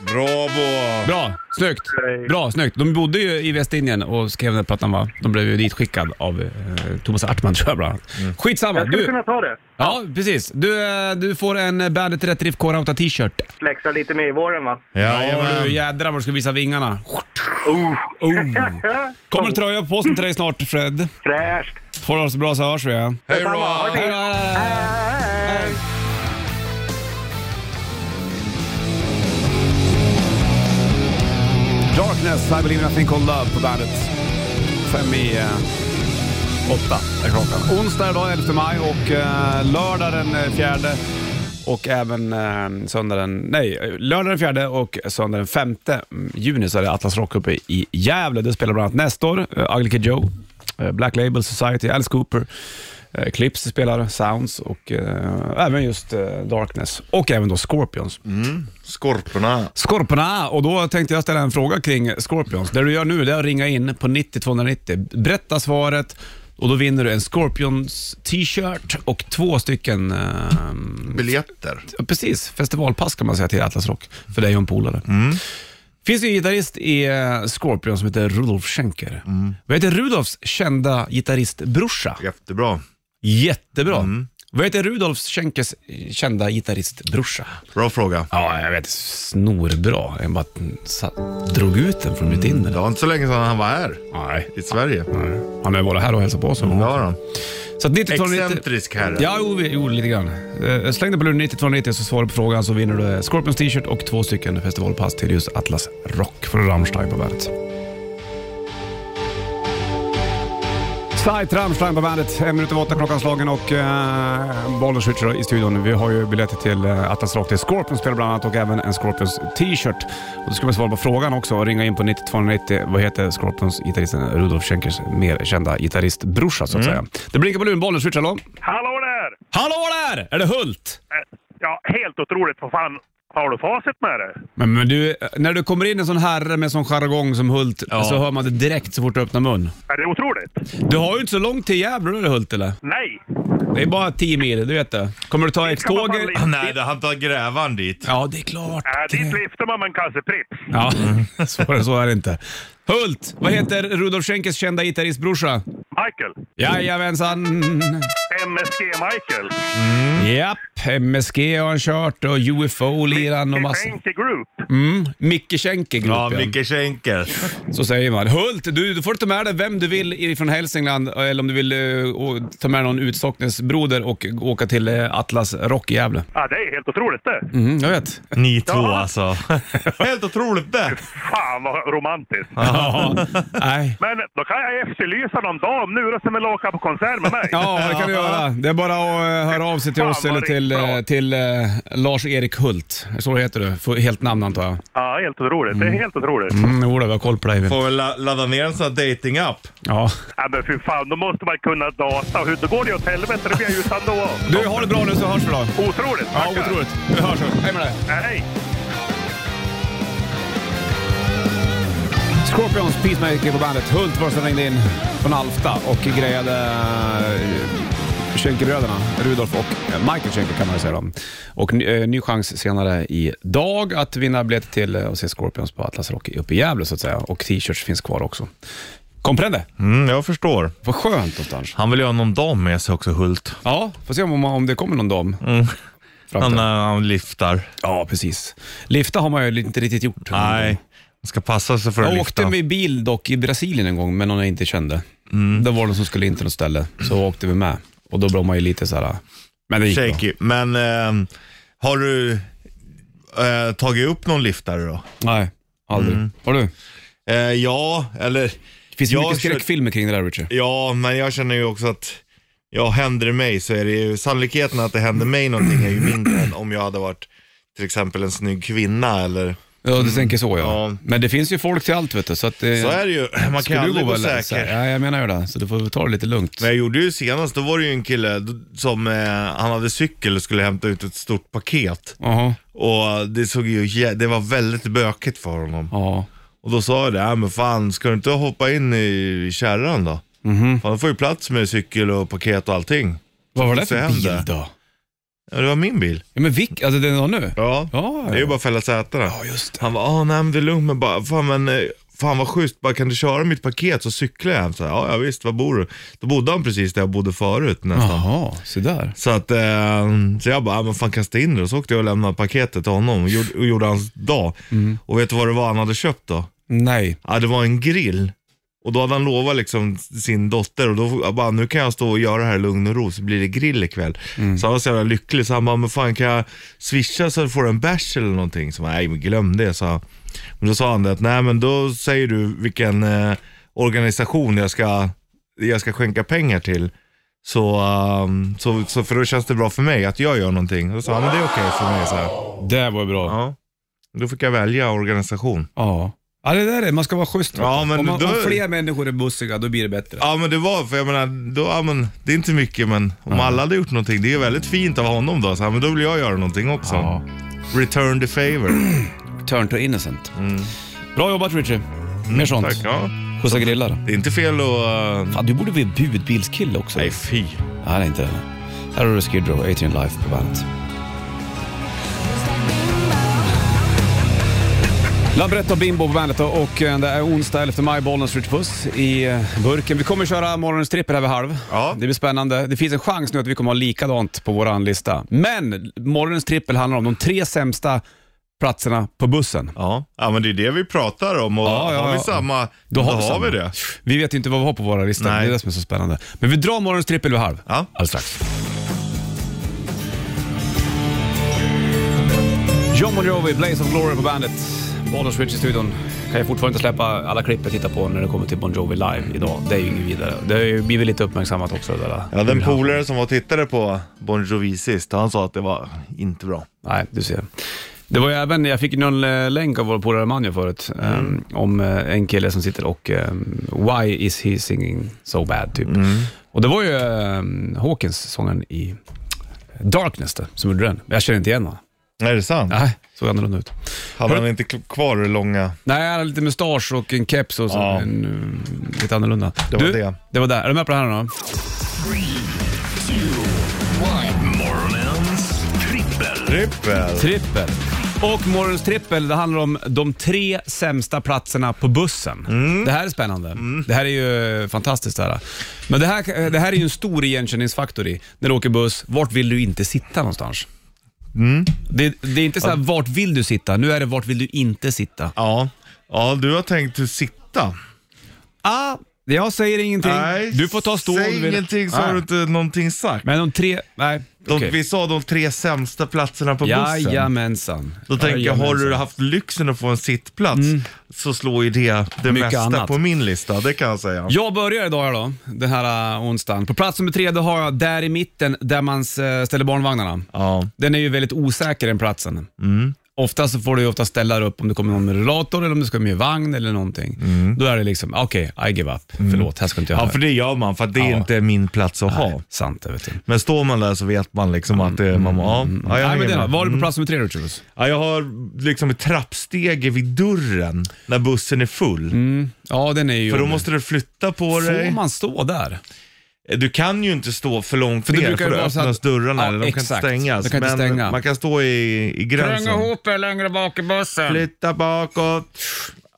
S3: Bravo!
S2: Bra. Snyggt. Bra, snyggt. De bodde ju i Västindien och skrev den här plattan va? De blev ju ditskickad av eh, Thomas Artman tror jag bland annat. Skitsamma.
S7: Jag skulle
S2: Du,
S7: kunna ta det.
S2: ja, precis. Du, eh, du får en eh, Bandet Rätt Riff K-Rauta t-shirt.
S7: Flexa lite mer i våren va?
S2: Ja,
S3: Jajamän.
S2: du jädrar vad du ska visa vingarna. Oh. Kommer tröja på påsen till dig snart Fred.
S7: Fräscht!
S2: Får du ha det så bra så hörs vi. Ja.
S3: Hej då.
S7: Detsamma, ha det
S2: Hej
S7: fint.
S2: då, hej då, hej då. Darkness, I believe in a thing called love på bandet. Fem i eh, åtta är klockan. Onsdag idag, 11 maj och eh, lördag den eh, fjärde och även eh, söndag den, nej, eh, lördag den fjärde och söndag den femte juni så är det Atlas Rock uppe i Gävle. Det spelar bland annat Nestor, eh, Ugly Kid Joe, eh, Black Label Society, Alice Cooper, eh, Clips spelar, Sounds och eh, även just eh, Darkness och även då Scorpions.
S3: Skorporna.
S2: Skorporna och då tänkte jag ställa en fråga kring Scorpions. Det du gör nu det är att ringa in på 90290, berätta svaret och då vinner du en Scorpions t-shirt och två stycken, eh,
S3: Biljetter.
S2: precis, festivalpass kan man säga till Atlas Rock för dig och en polare. finns ju en gitarrist i eh, Scorpion som heter Rudolf Schenker. Vad heter Rudolfs kända gitarristbrorsa?
S3: Jättebra.
S2: Jättebra. Vad heter Rudolf Schenkers eh, kända gitarristbrorsa?
S3: Bra fråga.
S2: Ja, jag vet. Snorbra. Jag bara sa- drog ut den från mitt inre.
S3: Det var inte så länge sedan han var här
S2: Nej.
S3: i Sverige.
S2: Han har ju varit här och hälsat på oss. en gång.
S3: Ja, då.
S2: Så att 90-talet-
S3: Excentrisk herre.
S2: Ja, jo, vi- jo, lite grann. Eh, Släng dig på luren 9290 så svarar du på frågan så vinner du eh, Scorpions t-shirt och två stycken festivalpass till just Atlas Rock från Rammstein på bandet. Sajt Rammstein på bandet, en minut över åtta klockan slagen och eh, Bollnäs Richard i studion. Vi har ju biljetter till eh, Atlas Rock till Scorpions spelar bland annat och även en Scorpions t-shirt. Och då ska man svara på frågan också och ringa in på 9290. Vad heter Scorpions gitarristen Rudolf Schenkers mer kända gitarristbrorsa så att säga. Det blinkar på luren, Bollnäs Richard. Hallå?
S7: Hallå där! Eh,
S2: Hallå där! Är det Hult?
S7: Ja, helt otroligt. Vad fan har du facit med det?
S2: Men, men du, när du kommer in en sån herre med sån jargong som Hult så hör man det direkt så fort du öppnar mun.
S7: Är det otroligt?
S2: Du har ju inte så långt till Gävle eller Hult eller?
S7: Nej!
S2: Det är bara 10 mil, du vet det. Kommer du ta
S7: kan man
S2: X-tåget?
S7: bara-
S3: Nej, det- han tar grävaren dit.
S2: Ja, det är klart.
S7: Äh, dit lyfter man med en kasse Pripps.
S2: Ja, svårare än så är det inte. Hult, vad heter Rudolf Schenkers kända gitarristbrorsa?
S7: Michael.
S2: Jajamensan!
S7: MSG Michael.
S2: Japp, MSG har han kört och UFO lirar han och massor.
S7: Defenke Group.
S2: Micke Schenker Group
S3: Ja, Micke Schenker.
S2: Så säger man. Hult, du, du får ta med dig vem du vill från Hälsingland eller om du vill eh, å- ta med någon utsocknesbroder och åka till eh, Atlas Rock i Gävle.
S7: Ja, det är helt otroligt det.
S2: Mm, jag vet.
S3: Ni två alltså. Helt otroligt det.
S7: Fan vad romantiskt.
S2: Ja, nej.
S7: Men då kan jag efterlysa någon dam nu då som vill åka på konsert med mig.
S2: Ja, det kan du göra. Det är bara att eh, höra av sig till
S7: Fan,
S2: oss
S7: vad
S2: eller till, eh,
S7: bra.
S2: till eh, Lars-Erik Hult. Så heter du. Får Helt namn antar jag.
S7: Ja, helt otroligt. Det är helt otroligt.
S2: Mm, Jodå, vi har koll på dig. vi.
S3: Får väl la- ladda ner en sån här dating-app.
S2: Ja.
S7: Ja, men fy fan, då måste man kunna data. Hur- Då går det ju åt helvete. Det blir jag ju utan då.
S2: Du, ha det bra nu så hörs vi då.
S7: Otroligt.
S2: Ja,
S7: tackar.
S2: otroligt. Vi hörs. då. Hej med dig.
S7: Ja, Hej!
S2: Scorpions Peacemaker på bandet. Hult var det som ringde in från Alfta och grejade eh, Schenkerbröderna, Rudolf och eh, Michael Schenker kan man ju säga då. Och ny, eh, ny chans senare idag att vinna biljetter till eh, och se Scorpions på Atlas Rock uppe i Gävle så att säga. Och t-shirts finns kvar också. Comprende?
S3: Mm, jag förstår.
S2: Vad skönt någonstans.
S3: Han vill ju ha någon dam med sig också, Hult.
S2: Ja, får se om, om det kommer någon dam.
S3: Mm.
S2: Fram
S3: Han,
S2: till.
S3: eh, han lyftar.
S2: Ja, precis. Lifta har man ju inte riktigt gjort.
S3: Nej, man ska passa sig för att
S2: Jag
S3: lyfta.
S2: åkte med bil dock i Brasilien en gång med någon jag inte kände. Mm. Det var någon som skulle in till något ställe, så åkte vi med. Och då blev man ju lite såhär, men det gick bra.
S3: Shaky. Men eh, har du eh, tagit upp någon liftare då?
S2: Nej, aldrig. Har du?
S3: Eh, ja, eller...
S2: Finns det
S3: Mm. Jag
S2: mycket
S3: kör-
S2: skräckfilmer kring det där Richard?
S3: Ja, men jag känner ju också att ja, händer det mig så är det ju sannolikheten att det händer mig någonting är ju mindre än om jag hade varit till exempel en snygg kvinna eller
S2: Ja, du tänker så ja.
S3: Mm. Ja.
S2: Men det finns ju folk till allt vet du, så att... eh,
S3: så är det ju. Man
S2: skulle
S3: kan
S2: du
S3: aldrig gå
S2: och läsa?
S3: säker.
S2: Ja, jag menar ju det. Så du får ta det lite lugnt.
S3: Men jag gjorde ju senast, då var det ju en kille d- som, eh, han hade cykel och skulle hämta ut ett stort paket.
S2: Jaha,
S3: Och det såg ju, jä- det var väldigt bökigt för honom.
S2: ja.
S3: Och då sa jag det, "Ja, men fan ska du inte hoppa in i kärran då?
S2: Mhm.
S3: Fan, då får ju plats med cykel och paket och allting.
S2: Vad var det
S3: Så
S2: för
S3: hände.
S2: bil då?
S3: Ja, det var min bil.
S2: Ja, men vilk, alltså den har nu?
S3: Ja,
S2: Ja,
S3: det är ju bara att fälla sätena. Han var ah, nej men det är lugnt, men bara, fan men eh, Fan vad schysst, bara kan du köra mitt paket så cyklar jag hem. Så, här, ja, ja visst, var bor du? Då bodde han precis där jag bodde förut nästan.
S2: Jaha, så där.
S3: Så att, eh, så jag bara, ah, men fan kasta in det. Och så åkte jag och lämnade paketet till honom och gjorde, och gjorde hans dag. Och vet du vad det var han hade köpt då?
S2: Nej.
S3: Ja, det var en grill. Och då hade han lovat liksom sin dotter och då jag bara, nu kan jag stå och göra det här i lugn och ro så blir det grill ikväll. Så han var så jävla lycklig så han bara, men fan kan jag swisha så får du en bärs eller någonting? Så jag bara, nej men glöm det sa jag. Men då sa han det att, nej men då säger du vilken eh, organisation jag ska, jag ska skänka pengar till. Så, ehm, så, så för då känns det bra för mig att jag gör någonting. Och Då sa han, men det är okej för mig. Så här.
S2: Det var bra.
S3: Ja. Då fick jag välja organisation.
S2: Ja. Ja, det där är, man ska vara schysst. va?
S3: Ja, men
S2: om, man,
S3: då-
S2: om fler människor är bussiga, då blir det bättre.
S3: Ja men det var, för jag menar, då, ja, men, det är inte mycket men om alla hade gjort någonting, det är ju väldigt fint av honom då, så här, men då vill jag göra någonting också.
S2: Ja.
S3: Return the favor.
S2: Turn to innocent. Bra jobbat Richie. Mer sånt.
S3: Mm. Tack, ja.
S2: Skjutsa grillar.
S3: Det är inte fel att... eh,
S2: Fan, du borde bli budbilskille också.
S3: nej fy.
S2: Nej, det är inte det. Här har du Skid Row, 18 Life på bandet. Lambretta och Bimbo på bandet då, och eh, det är onsdag 11 maj, Bollnäs Rich Puss i eh, burken. Vi kommer köra morgonens trippel här vid halv.
S3: Ja.
S2: Det blir spännande. Det finns en chans nu att vi kommer ha likadant på vår lista. Men morgonens trippel handlar om de tre sämsta platserna på bussen.
S3: Ja. ja men det är det vi pratar om och
S2: Ja, ja,
S3: har vi
S2: ja.
S3: samma, då har, vi, det.
S2: Vi vet ju inte vad vi har på våra listor.
S3: Nej.
S2: Det är det som är så spännande. Men vi drar morgonens trippel vid halv.
S3: Ja.
S2: Alldeles strax. John Bon Jovi, Blaze of Glory på bandet. Bonus Rich i studion. Kan jag fortfarande inte släppa alla klipp jag tittar på när det kommer till Bon Jovi live idag. Det är ju inget vidare. Det har ju blivit lite uppmärksammat också. Det där.
S3: Ja, den
S2: Hur han-
S3: polare som var och tittade på Bon Jovi sist, han sa att det var inte bra.
S2: Nej, du ser. Det var ju även, jag fick någon eh, länk av vår polare Manjo förut, eh, om eh, en kille som sitter och eh, “Why is he singing so bad?” typ. Och det var ju um, Hawkins, sången i Darkness, där, som gjorde den. Men Jag känner inte igen honom.
S3: Är det sant?
S2: Nej, såg annorlunda ut.
S3: Hade han inte kl- kvar det långa...
S2: Nej, han hade lite mustasch och en keps och så,
S3: Ja.
S2: en, eh, lite annorlunda.
S3: Det var det.
S2: Det var där. Är du med på det här nu då?
S1: Morgonens trippel.
S3: Trippel!
S2: Trippel. Och morgonens trippel, det handlar om de tre sämsta platserna på bussen.
S3: Mm.
S2: Det här är spännande. Det här är ju eh, fantastiskt. Det här. Men det här, eh, det här är ju en stor igenkänningsfaktor i, när du åker buss. Vart vill du inte sitta någonstans?
S3: Mm.
S2: Det, det är inte så här, vart vill du sitta? Nu är det, vart vill du inte sitta?
S3: Ja. ja, du har tänkt sitta.
S2: Ah, jag säger ingenting. du får ta stå om
S3: Säg
S2: du vill.
S3: ingenting så
S2: Nej.
S3: har du inte någonting sagt.
S2: Men de tre, nej.
S3: De,
S2: okej.
S3: Vi sa de tre sämsta platserna på bussen.
S2: Jajamensan.
S3: Då tänker jag, har du
S2: Jajamensan.
S3: haft lyxen att få en sittplats så slår ju det det
S2: Mm. Mycket
S3: mesta
S2: annat.
S3: på min lista, det kan jag säga.
S2: Jag börjar idag här då, den här äh, onsdagen. På plats nummer tre då har jag där i mitten där man äh, ställer barnvagnarna.
S3: Ja. Mm.
S2: Den är ju väldigt osäker den platsen. Ofta så får du ju ofta ställa dig upp om det kommer någon med rullator eller om det ska med vagn eller någonting. Då är det liksom, okej, I give up. Förlåt, här ska inte jag
S3: Mm. ja, för det gör man för att det är
S2: Ja.
S3: inte min plats att
S2: Nej,
S3: ha.
S2: Sant det vet du.
S3: Men står man där så vet man liksom att det är mamma. Ja, ja, jag
S2: Nej, men
S3: hänger
S2: den, då.
S3: med.
S2: var du på
S3: Mm.
S2: plats nummer tre Richards?
S3: ja, jag har liksom ett trappstege vid dörren när bussen är full.
S2: Ja, den är ju...
S3: För då måste du flytta på
S2: Mm. Får
S3: dig.
S2: man stå där?
S3: Du kan ju inte stå för långt
S2: det
S3: ner
S2: brukar
S3: för
S2: ju
S3: då
S2: vara så att-
S3: öppnas dörrarna
S2: Ja,
S3: eller de kan
S2: exakt.
S3: inte stängas.
S2: De kan inte
S3: men
S2: stänga.
S3: man kan stå i, i
S2: Alltså.
S3: gränsen.
S2: er längre bak i bussen.
S3: Flytta bakåt.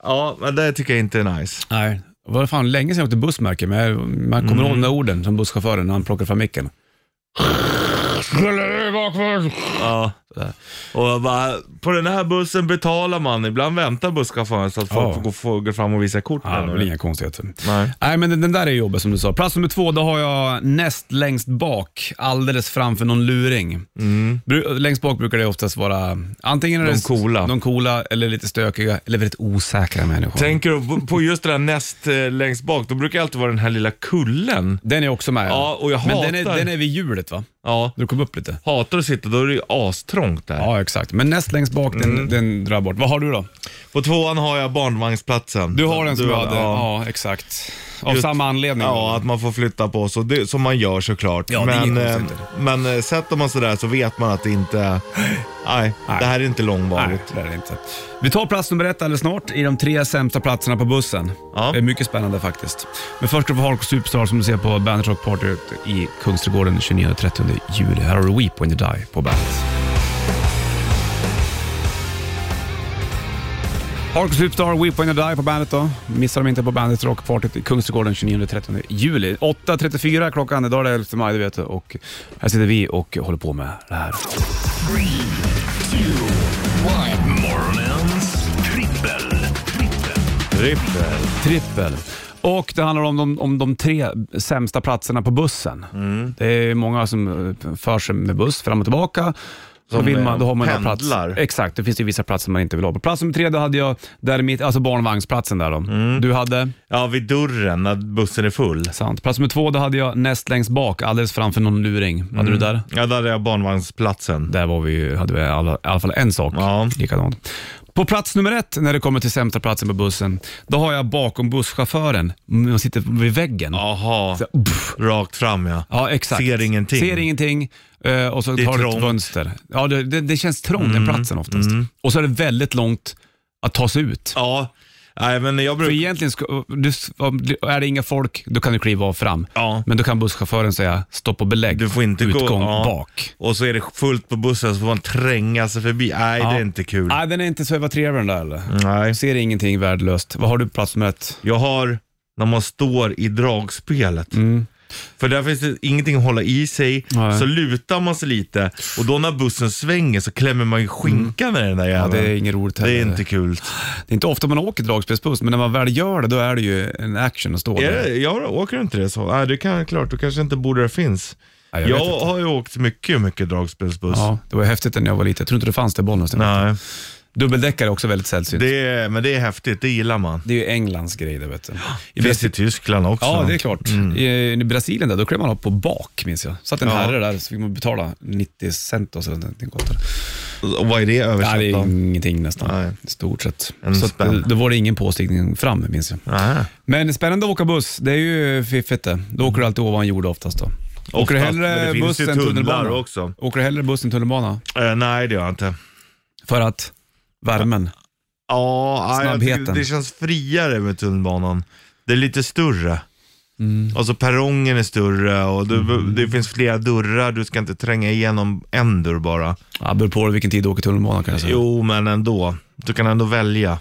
S3: Ja, men det tycker jag inte är nice.
S2: Nej, det var fan länge sedan jag åkte buss märker jag, men jag- man kommer ihåg de där orden som busschauffören när han plockade fram micken.
S3: Ja. Och jag bara, på den här bussen betalar man. Ibland väntar busschauffören så att folk
S2: Ja.
S3: får, gå, får gå fram och visa kort.
S2: Ja, Ah, det
S3: med
S2: var
S3: den.
S2: inga konstigheter.
S3: Nej.
S2: Nej, men den, den där är jobbig som du sa. Plats nummer två, då har jag näst längst bak, alldeles framför någon luring. Bru- längst bak brukar det oftast vara antingen är
S3: Mm. De
S2: det s-
S3: coola.
S2: de coola, eller lite stökiga, eller väldigt osäkra människor.
S3: Tänker du på- på just det där näst eh, längst bak, då brukar det alltid vara den här lilla kullen.
S2: den är också med.
S3: Ja, och jag
S2: men den är,
S3: hatar-
S2: den är vid hjulet va?
S3: Ja.
S2: Du kom upp lite.
S3: Hatar att sitta, då är det ju trångt där.
S2: Ja, exakt. Men näst längst bak,
S3: Mm.
S2: den, den drar bort. Vad har du då?
S3: På tvåan har jag barnvagnsplatsen.
S2: Du har den som jag hade.
S3: Ja.
S2: Ja, exakt. Av
S3: Just-
S2: samma anledning.
S3: Ja, att man får flytta på sig, det- som man gör såklart.
S2: Ja, det är
S3: men,
S2: inget
S3: eh,
S2: konstigt.
S3: men eh, sätter man sig där så vet man att det inte... Nej, det här är inte
S2: Nej,
S3: långvarigt.
S2: det är det inte. Vi tar plats nummer ett alldeles snart i de tre sämsta platserna på bussen.
S3: Ja.
S2: Det är mycket spännande faktiskt. Men först ska vi få Hardcore Superstar som du ser på Bandit Rock Party i Kungsträdgården 29-30 juli. Här har du Weep When You Die på Bandet. Hardcore Superstar, Weep When You Die på Bandet då. Missar de inte på Bandet Rock Party i Kungsträdgården 29-30 juli. 8.34 klockan, idag är det 11 maj du vet och här sitter vi och håller på med det här.
S1: Morgonens trippel. trippel.
S3: Trippel.
S2: Trippel. Och det handlar om de, om de tre sämsta platserna på bussen.
S3: Mm.
S2: Det är många som eh, för sig med buss fram och tillbaka. Så
S3: Som, eh,
S2: vill man, då har man ju
S3: pendlar.
S2: Plats. Exakt, det finns ju vissa platser man inte vill ha. På plats nummer tre då hade jag där i mitt, alltså barnvagnsplatsen där då.
S3: Mm.
S2: Du hade,
S3: Ja, vid dörren när bussen är full.
S2: sant. Plats nummer två då hade jag näst längst bak, alldeles framför någon luring. Hade du där?
S3: Ja, där är jag barnvagnsplatsen.
S2: Där var vi, ju- hade vi i alla, i alla fall en sak
S3: Ja.
S2: likadant. På plats nummer ett när det kommer till sämsta platsen på bussen, då har jag bakom busschauffören. Man sitter vid väggen.
S3: Jaha,
S2: Så, pff,
S3: rakt fram ja.
S2: Ja, exakt.
S3: Ser ingenting.
S2: Ser ingenting eh, och så
S3: Det är
S2: tar du ett
S3: trångt. Mm,
S2: fönster. Ja, det, det, det känns trångt den platsen oftast. Och så är det väldigt långt att ta sig ut.
S3: Ja, nej men jag
S2: För
S3: brukar...
S2: egentligen, ska, du, om det- är det inga folk, då kan du kliva av fram.
S3: Ja.
S2: Men då kan busschauffören säga stopp och belägg,
S3: Du får inte gå-
S2: utgång
S3: ja.
S2: bak.
S3: Och så är det fullt på bussen så får man tränga sig förbi. Nej, det är inte kul.
S2: Nej, den är inte så jävla trevlig den där eller?
S3: Nej.
S2: Ser ingenting värdelöst. Vad har du på plats nummer ett?
S3: Jag har när man står i dragspelet. För där finns det ingenting att hålla i sig.
S2: Mm. Nej.
S3: Så lutar man sig lite och då när bussen svänger så klämmer man ju skinkan i den där
S2: Mm. Ja,
S3: jäveln.
S2: det är inget roligt
S3: det
S2: heller.
S3: är inte kul.
S2: det är inte ofta man åker dragspelsbuss, men när man väl gör det, då är det ju en action att stå
S3: Är
S2: där.
S3: det, jag åker inte det så? Nej, det kan klart. Du kanske inte bor där det finns.
S2: Ja, jag
S3: jag
S2: vet inte.
S3: har ju åkt mycket, mycket dragspelsbuss.
S2: Ja, det var häftigt när jag var liten. Jag tror inte det fanns det i Bollnäs.
S3: Nej,
S2: Dubbeldäckare är också väldigt sällsynt. Det,
S3: det är, men det är häftigt. Det gillar man.
S2: är ju Englands grej det vet du. Mm. I
S3: Det finns i
S2: Brasilien-
S3: Tyskland också.
S2: Ja, det är klart. I, I Brasilien där, då klev man upp på bak minns jag. Satt en
S3: Ja.
S2: herre där så fick man betala 90 cent och sådär. Det kostade.
S3: Och vad är det
S2: Nej,
S3: översatt
S2: det är
S3: av?
S2: ingenting nästan.
S3: Nej.
S2: I stort sett.
S3: En
S2: Så att,
S3: spänn.
S2: då var det ingen påstigning fram minns jag.
S3: Aha.
S2: Men spännande att åka buss, det är ju fiffigt det. Då åker du alltid ovan jord oftast då. åker du
S3: men det
S2: hellre
S3: finns
S2: buss
S3: ju
S2: än
S3: tunnlar
S2: tunnelbana?
S3: också.
S2: Åker du hellre buss än tunnelbana?
S3: Eh, nej, det gör jag inte.
S2: För att värmen?
S3: Ja, nej, jag tycker
S2: Snabbheten.
S3: det känns friare med tunnelbanan. Det är lite större.
S2: Mm.
S3: Alltså perrongen är större och du, det finns flera dörrar. Du ska inte tränga igenom en dörr bara.
S2: Ja, beror på vilken tid du åker tunnelbana kan jag säga.
S3: Jo, men ändå. Du kan ändå välja.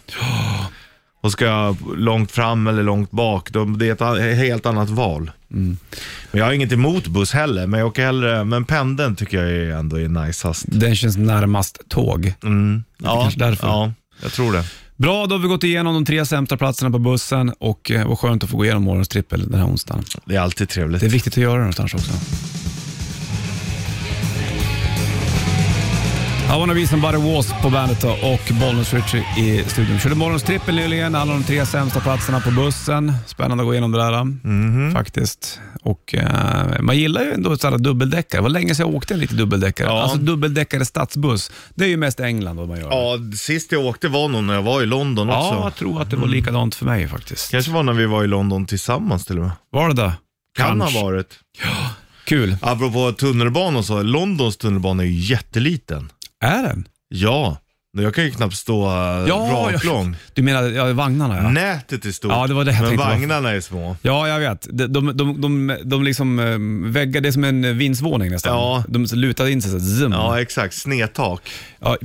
S3: Och ska jag långt fram eller långt bak, då, det är ett a- helt annat val.
S2: Mm.
S3: Men jag har inget emot buss heller, men jag åker hellre, men pendeln tycker jag är ändå är najsast.
S2: Den känns närmast tåg.
S3: Mm. Ja,
S2: kanske därför.
S3: Ja, jag tror det.
S2: Bra, då har vi gått igenom de tre sämsta platserna på bussen och eh, vad skönt att få gå igenom morgons trippel den här onsdagen.
S3: Det är alltid trevligt.
S2: Det är viktigt att göra det någonstans också. I wanna be somebody was på bandet då och Bollnäs Ritchie i studion. Körde morgons trippel nyligen, det handlar om de tre sämsta platserna på bussen. Spännande att gå igenom det där
S3: Mhm.
S2: faktiskt. Och, eh, man gillar ju ändå sådana dubbeldäckare. Det var länge sedan jag åkte en lite dubbeldäckare.
S3: Ja.
S2: Alltså dubbeldäckare stadsbuss, det är ju mest England vad man gör.
S3: Ja, sist jag åkte var nog när jag var i London också. Mm.
S2: Ja, jag tror att det var likadant för mig faktiskt.
S3: Kanske var när vi var i London tillsammans till och med.
S2: Var det det?
S3: Kan
S2: Kanske.
S3: ha varit.
S2: Kul.
S3: Apropå tunnelbana och så, Londons tunnelbana är ju jätteliten.
S2: Är den?
S3: Ja, jag kan ju knappt stå äh,
S2: Ja,
S3: raklång.
S2: Du menar ja, vagnarna
S3: Mm.
S2: ja.
S3: Nätet är stort,
S2: Ja, det var det jag
S3: men
S2: tänkte på.
S3: vagnarna är små.
S2: Ja, jag vet. De, de, de, de, de liksom eh, väggar, det är som en vindsvåning nästan.
S3: Ja.
S2: De lutade in sig så zoom.
S3: Ja,
S2: Ja.
S3: exakt. Snedtak.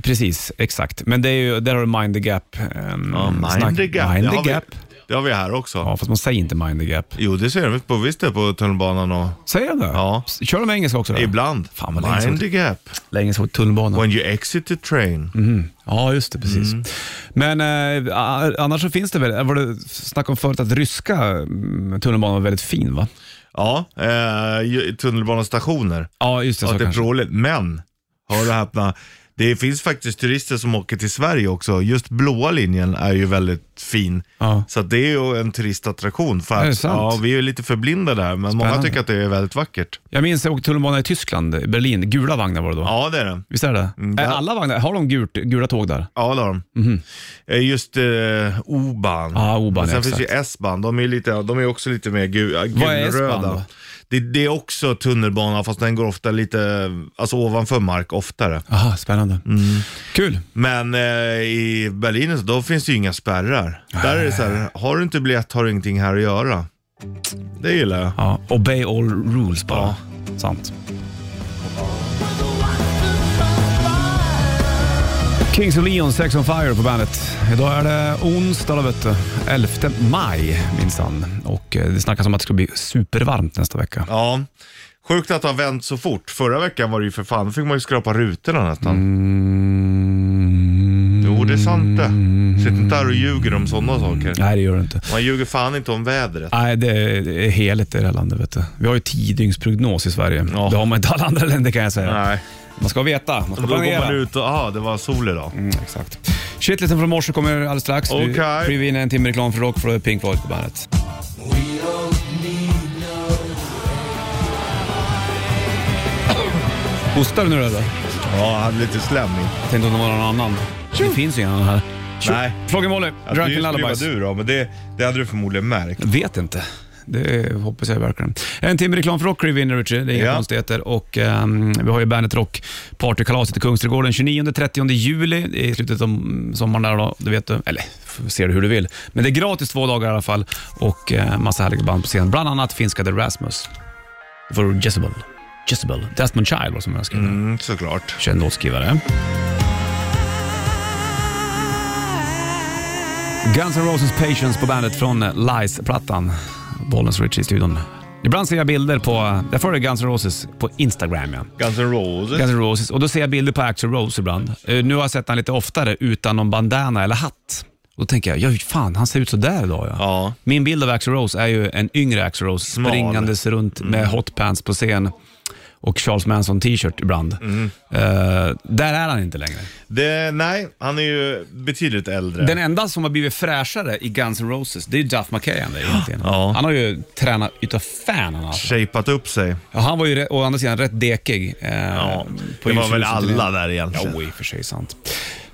S2: precis. Exakt. Men det är ju, där har du mind the gap. ehm,
S3: Ja, Mm. mind
S2: snack.
S3: the gap.
S2: Mind
S3: det, har
S2: the gap.
S3: Vi, det har vi här också.
S2: Ja, fast man säger inte mind the gap.
S3: Jo, det ser vi på, visst det på tunnelbanan och
S2: Säger de det?
S3: Ja.
S2: Kör de engelska också? Då?
S3: ibland.
S2: Fan, vad länge
S3: Mind
S2: sedan.
S3: the gap.
S2: Länge såg tunnelbanan.
S3: When you exit the train.
S2: Mm. Ja, just det. Precis.
S3: Mm.
S2: Men eh, a- annars så finns det väl, var det snack om förut att ryska mm, tunnelbanan var väldigt fin va?
S3: Ja, eh, ju- tunnelbanestationer.
S2: Ja, just det.
S3: Ja,
S2: så
S3: det är
S2: kanske.
S3: pråligt. Men, hör och häpna. Det finns faktiskt turister som åker till Sverige också. Just blåa linjen är ju väldigt fin.
S2: Ja.
S3: Så att det är ju en turistattraktion. För
S2: Är det
S3: att,
S2: sant?
S3: ja, vi är ju lite förblinda där, men många
S2: Spännande.
S3: tycker att det är väldigt vackert.
S2: Jag minns jag åkte tunnelbana i Tyskland, i Berlin. Gula vagnar var det då.
S3: Ja, det är det.
S2: Visst är det?
S3: ja.
S2: Är alla vagnar, har de gult, gula tåg där?
S3: Ja, det har de. Eh, Just eh, O-ban.
S2: Mhm. Ja, O-ban,
S3: Sen
S2: ja,
S3: finns ju S-ban. De är, lite, de är också lite mer gu, äh,
S2: Vad är S-ban
S3: gulröda.
S2: då?
S3: Det, det är också tunnelbana, fast den går ofta lite, alltså ovanför mark oftare.
S2: Aha, spännande. Mm. Kul.
S3: Men eh, i Berlin så, då finns det ju inga spärrar. Där är det så här, har du inte biljett har du ingenting här att göra. Det gillar jag.
S2: Ja, obey all rules bara. Sant. Kings of Leon, Sex on Fire på bandet. Idag är det onsdag, då vet du. 11 maj minsann. Och eh, det snackas om att det ska bli supervarmt nästa vecka.
S3: Ja. Sjukt att det har vänt så fort. Förra veckan var det ju för fan, då fick man ju skrapa rutorna nästan. Jo, det är sant det. Sitt inte här och ljuger om sådana saker.
S2: Nej, det gör det inte.
S3: Man ljuger fan inte om vädret.
S2: Nej, det är- det är heligt i det här landet. Vet du. Vi har ju tiodygnsprognos i Sverige.
S3: Ja.
S2: Det har man inte i alla andra länder kan jag säga.
S3: Nej.
S2: Man ska veta, man ska
S3: Då går
S2: planera.
S3: man ut och, ja, det var sol idag.
S2: Mm, exakt. Shitlisten från morse kommer alldeles strax. Vi
S3: Okej.
S2: kliver in en timme reklam för rock för Pink Floyd på bandet. Hostar du nu eller?
S3: Ja, jag hade lite slämming.
S2: Tänkte om det var någon annan. Det finns ju ingen annan här.
S3: Nej.
S2: Flogging Molly,
S3: Att Alltså, det
S2: Drunken
S3: skulle vara
S2: Lullabies.
S3: du då, men det, det hade du förmodligen märkt.
S2: Vet inte. Det hoppas jag verkligen. En timme reklam för Rock kliver in, Richie. Det är inga
S3: Ja.
S2: konstigheter. Och, ehm, vi har ju Bandet Rock partykalaset i Kungsträdgården 29-30 juli. Det är I slutet av sommaren där då, du vet du. Eller, f- ser du hur du vill. Men det är gratis två dagar i alla fall. Och eh, massa härliga band på scen. Bland annat finska The Rasmus. För Jezebel. Jezebel. Desmond Child var som jag skrev.
S3: Mm, såklart.
S2: Känd låtskrivare. Guns N' Roses Patience på bandet från Lies-plattan. Bollens Richie i studion. Ibland ser jag bilder på, jag följer Guns N' Roses på Instagram. Ja.
S3: Guns N' Roses.
S2: Guns N' Roses, och då ser jag bilder på Axl Rose ibland. Eh, Nu har jag sett han lite oftare utan någon bandana eller hatt. Och då tänker jag, ja fan han ser ut sådär idag ja.
S3: Ja.
S2: Min bild av Axl Rose är ju en yngre Axl Rose
S3: Smal. Mm.
S2: springandes runt med hotpants på scen och Charles Manson t-shirt ibland.
S3: Mm.
S2: Eh, där är han inte längre.
S3: Det, nej, han är ju betydligt äldre.
S2: Den enda som har blivit fräschare i Guns N' Roses, det är Duff McKagan där egentligen.
S3: Ja.
S2: Han har ju tränat utav fan han alltså.
S3: Shapat upp sig.
S2: Ja, han var ju re- å andra sidan rätt dekig. eh,
S3: det var väl
S2: 2000-talet.
S3: alla där egentligen.
S2: Jo, i och för sig sant.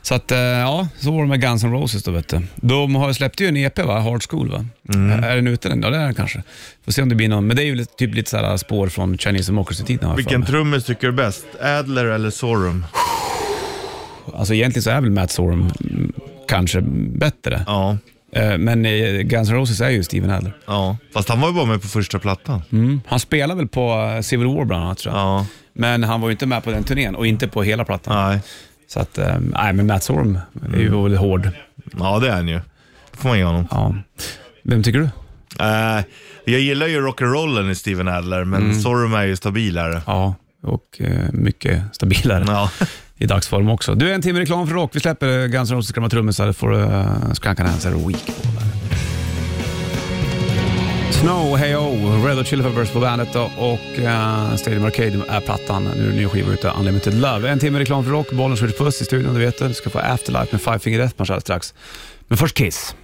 S2: Så att, eh, ja, så var det med Guns N' Roses då vet du. De har släppte ju en EP va, Hard School va?
S3: Mm.
S2: Är den ute den? Ja det är den kanske. Får se om det blir någon, men det är ju lite- typ lite så här spår från Chinese Democracy-tiden. har jag för
S3: Vilken
S2: mig.
S3: trummis tycker du bäst? Adler eller Sorum?
S2: Alltså egentligen så är väl Matt Sorum mm, kanske bättre.
S3: Ja,
S2: Eh, Men eh, Guns N' Roses är ju Steven Adler.
S3: ja. Fast han var ju bara med på första plattan.
S2: Mm. Han spelade väl på eh, Civil War bland annat tror jag.
S3: Ja,
S2: Men han var ju inte med på den turnén och inte på hela plattan.
S3: nej.
S2: Så att, eh, nej men Matt Sorum är
S3: Mm.
S2: ju väl hård.
S3: Ja, det är han ju. Det får man ge honom.
S2: Ja. Vem tycker du?
S3: Eh, jag gillar ju rock'n'rollen i Steven Adler, men Sorum är ju stabilare.
S2: Ja, och eh, mycket stabilare
S3: Ja.
S2: i dagsform också. Du, en timme reklam för rock. Vi släpper eh, Guns N' Roses gamla trummisar får uh, Skanka Dancer Week på där. Snow, Hey Oh, Red Hot Chili Peppers på bandet då, och eh, Stadium Arcade är plattan. Nu är det en ny skiva ute, Unlimited Love. En timme reklam för rock, bollen skjuter puss i studion, du vet det. Du ska få Afterlife med Five Finger Death Punch alldeles strax. Men först Kiss.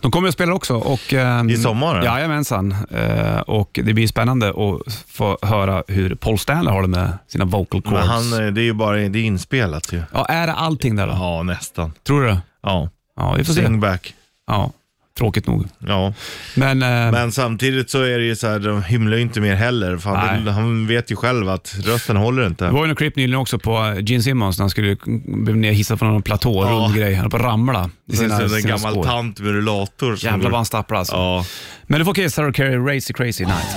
S2: De kommer att spela också. Och, ehm,
S3: Mm. I sommar, eller?
S2: Jajamensan. Eh, och det blir spännande att få höra hur Paul Stanley har det med sina vocal cords.
S3: Men han, eh, det är ju bara det är inspelat ju.
S2: Ja, är det allting där då?
S3: Ja, nästan.
S2: Tror du det?
S3: Ja,
S2: Ja, vi får se.
S3: singback.
S2: Ja, tråkigt nog.
S3: Ja,
S2: Men, eh,
S3: men samtidigt så är det ju så här, de hymlar ju inte mer heller. För han,
S2: Nej.
S3: han vet ju själv att rösten håller inte.
S2: det var ju något klipp nyligen också på eh, Gene Simmons när han skulle bli nerhissad från någon platå,
S3: Ja.
S2: rund grej. Han höll på att ramla i
S3: Det
S2: sina,
S3: är en
S2: sina
S3: gammal
S2: spår.
S3: tant med rullator. som
S2: Jävlar
S3: går-
S2: vad han stapplar alltså.
S3: Ja.
S2: Men du får Kiss här och Carrie Racy Crazy Night.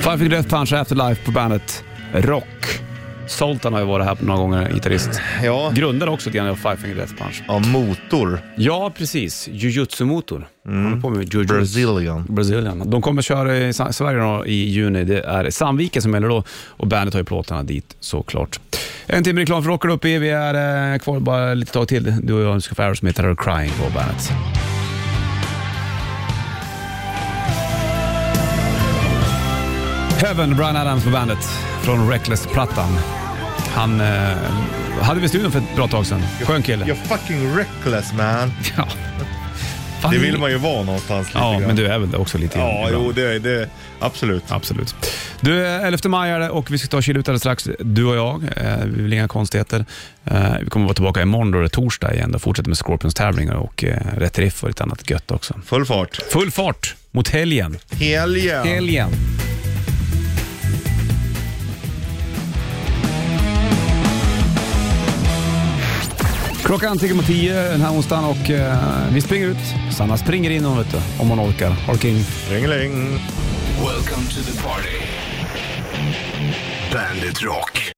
S2: Five Finger Death Punch Afterlife på bandet Rock. Zoltan har ju varit här några gånger, gitarrist.
S3: Ja.
S2: Grundade också lite grann av Five Finger Death Punch.
S3: ja, motor.
S2: Ja, precis. Jujutsu-motor. Håller på med jujutsu.
S3: Brazilian.
S2: Brazilian. De kommer köra i Sa- Sverige då, i juni. Det är Sandviken som gäller då och bandet har ju plåtarna dit såklart. En timme reklam för Rockar upp i. Vi är eh, kvar bara lite tag till. Du och jag ska få Aerosmith här och Crying på bandet. Heaven, Brian Adams på bandet från Reckless-plattan. Han eh, hade vi i studion för ett bra tag sedan. Skön kille.
S3: You're fucking reckless man.
S2: Ja. Fan,
S3: Det vill man ju vara någonstans lite
S2: Ja,
S3: grann.
S2: men du är väl det också lite
S3: Ja,
S2: ibland.
S3: jo, det, det absolut.
S2: Absolut. Du, eh, 11 maj är det och vi ska ta och chilla ut alldeles strax, du och jag. Eh, vi vill inga konstigheter. Eh, vi kommer vara tillbaka imorgon då det är torsdag igen och fortsätter med Scorpions tävlingar och eh, rätt riff och lite annat gött också.
S3: Full fart.
S2: Full fart mot helgen.
S3: Helgen.
S2: Helgen. Klockan tickar mot tio den här onsdagen och eh, vi springer ut. Sanna springer in hon vet du, om hon orkar. Harking.
S3: Ringeling.
S1: Welcome to the party. Bandit Rock.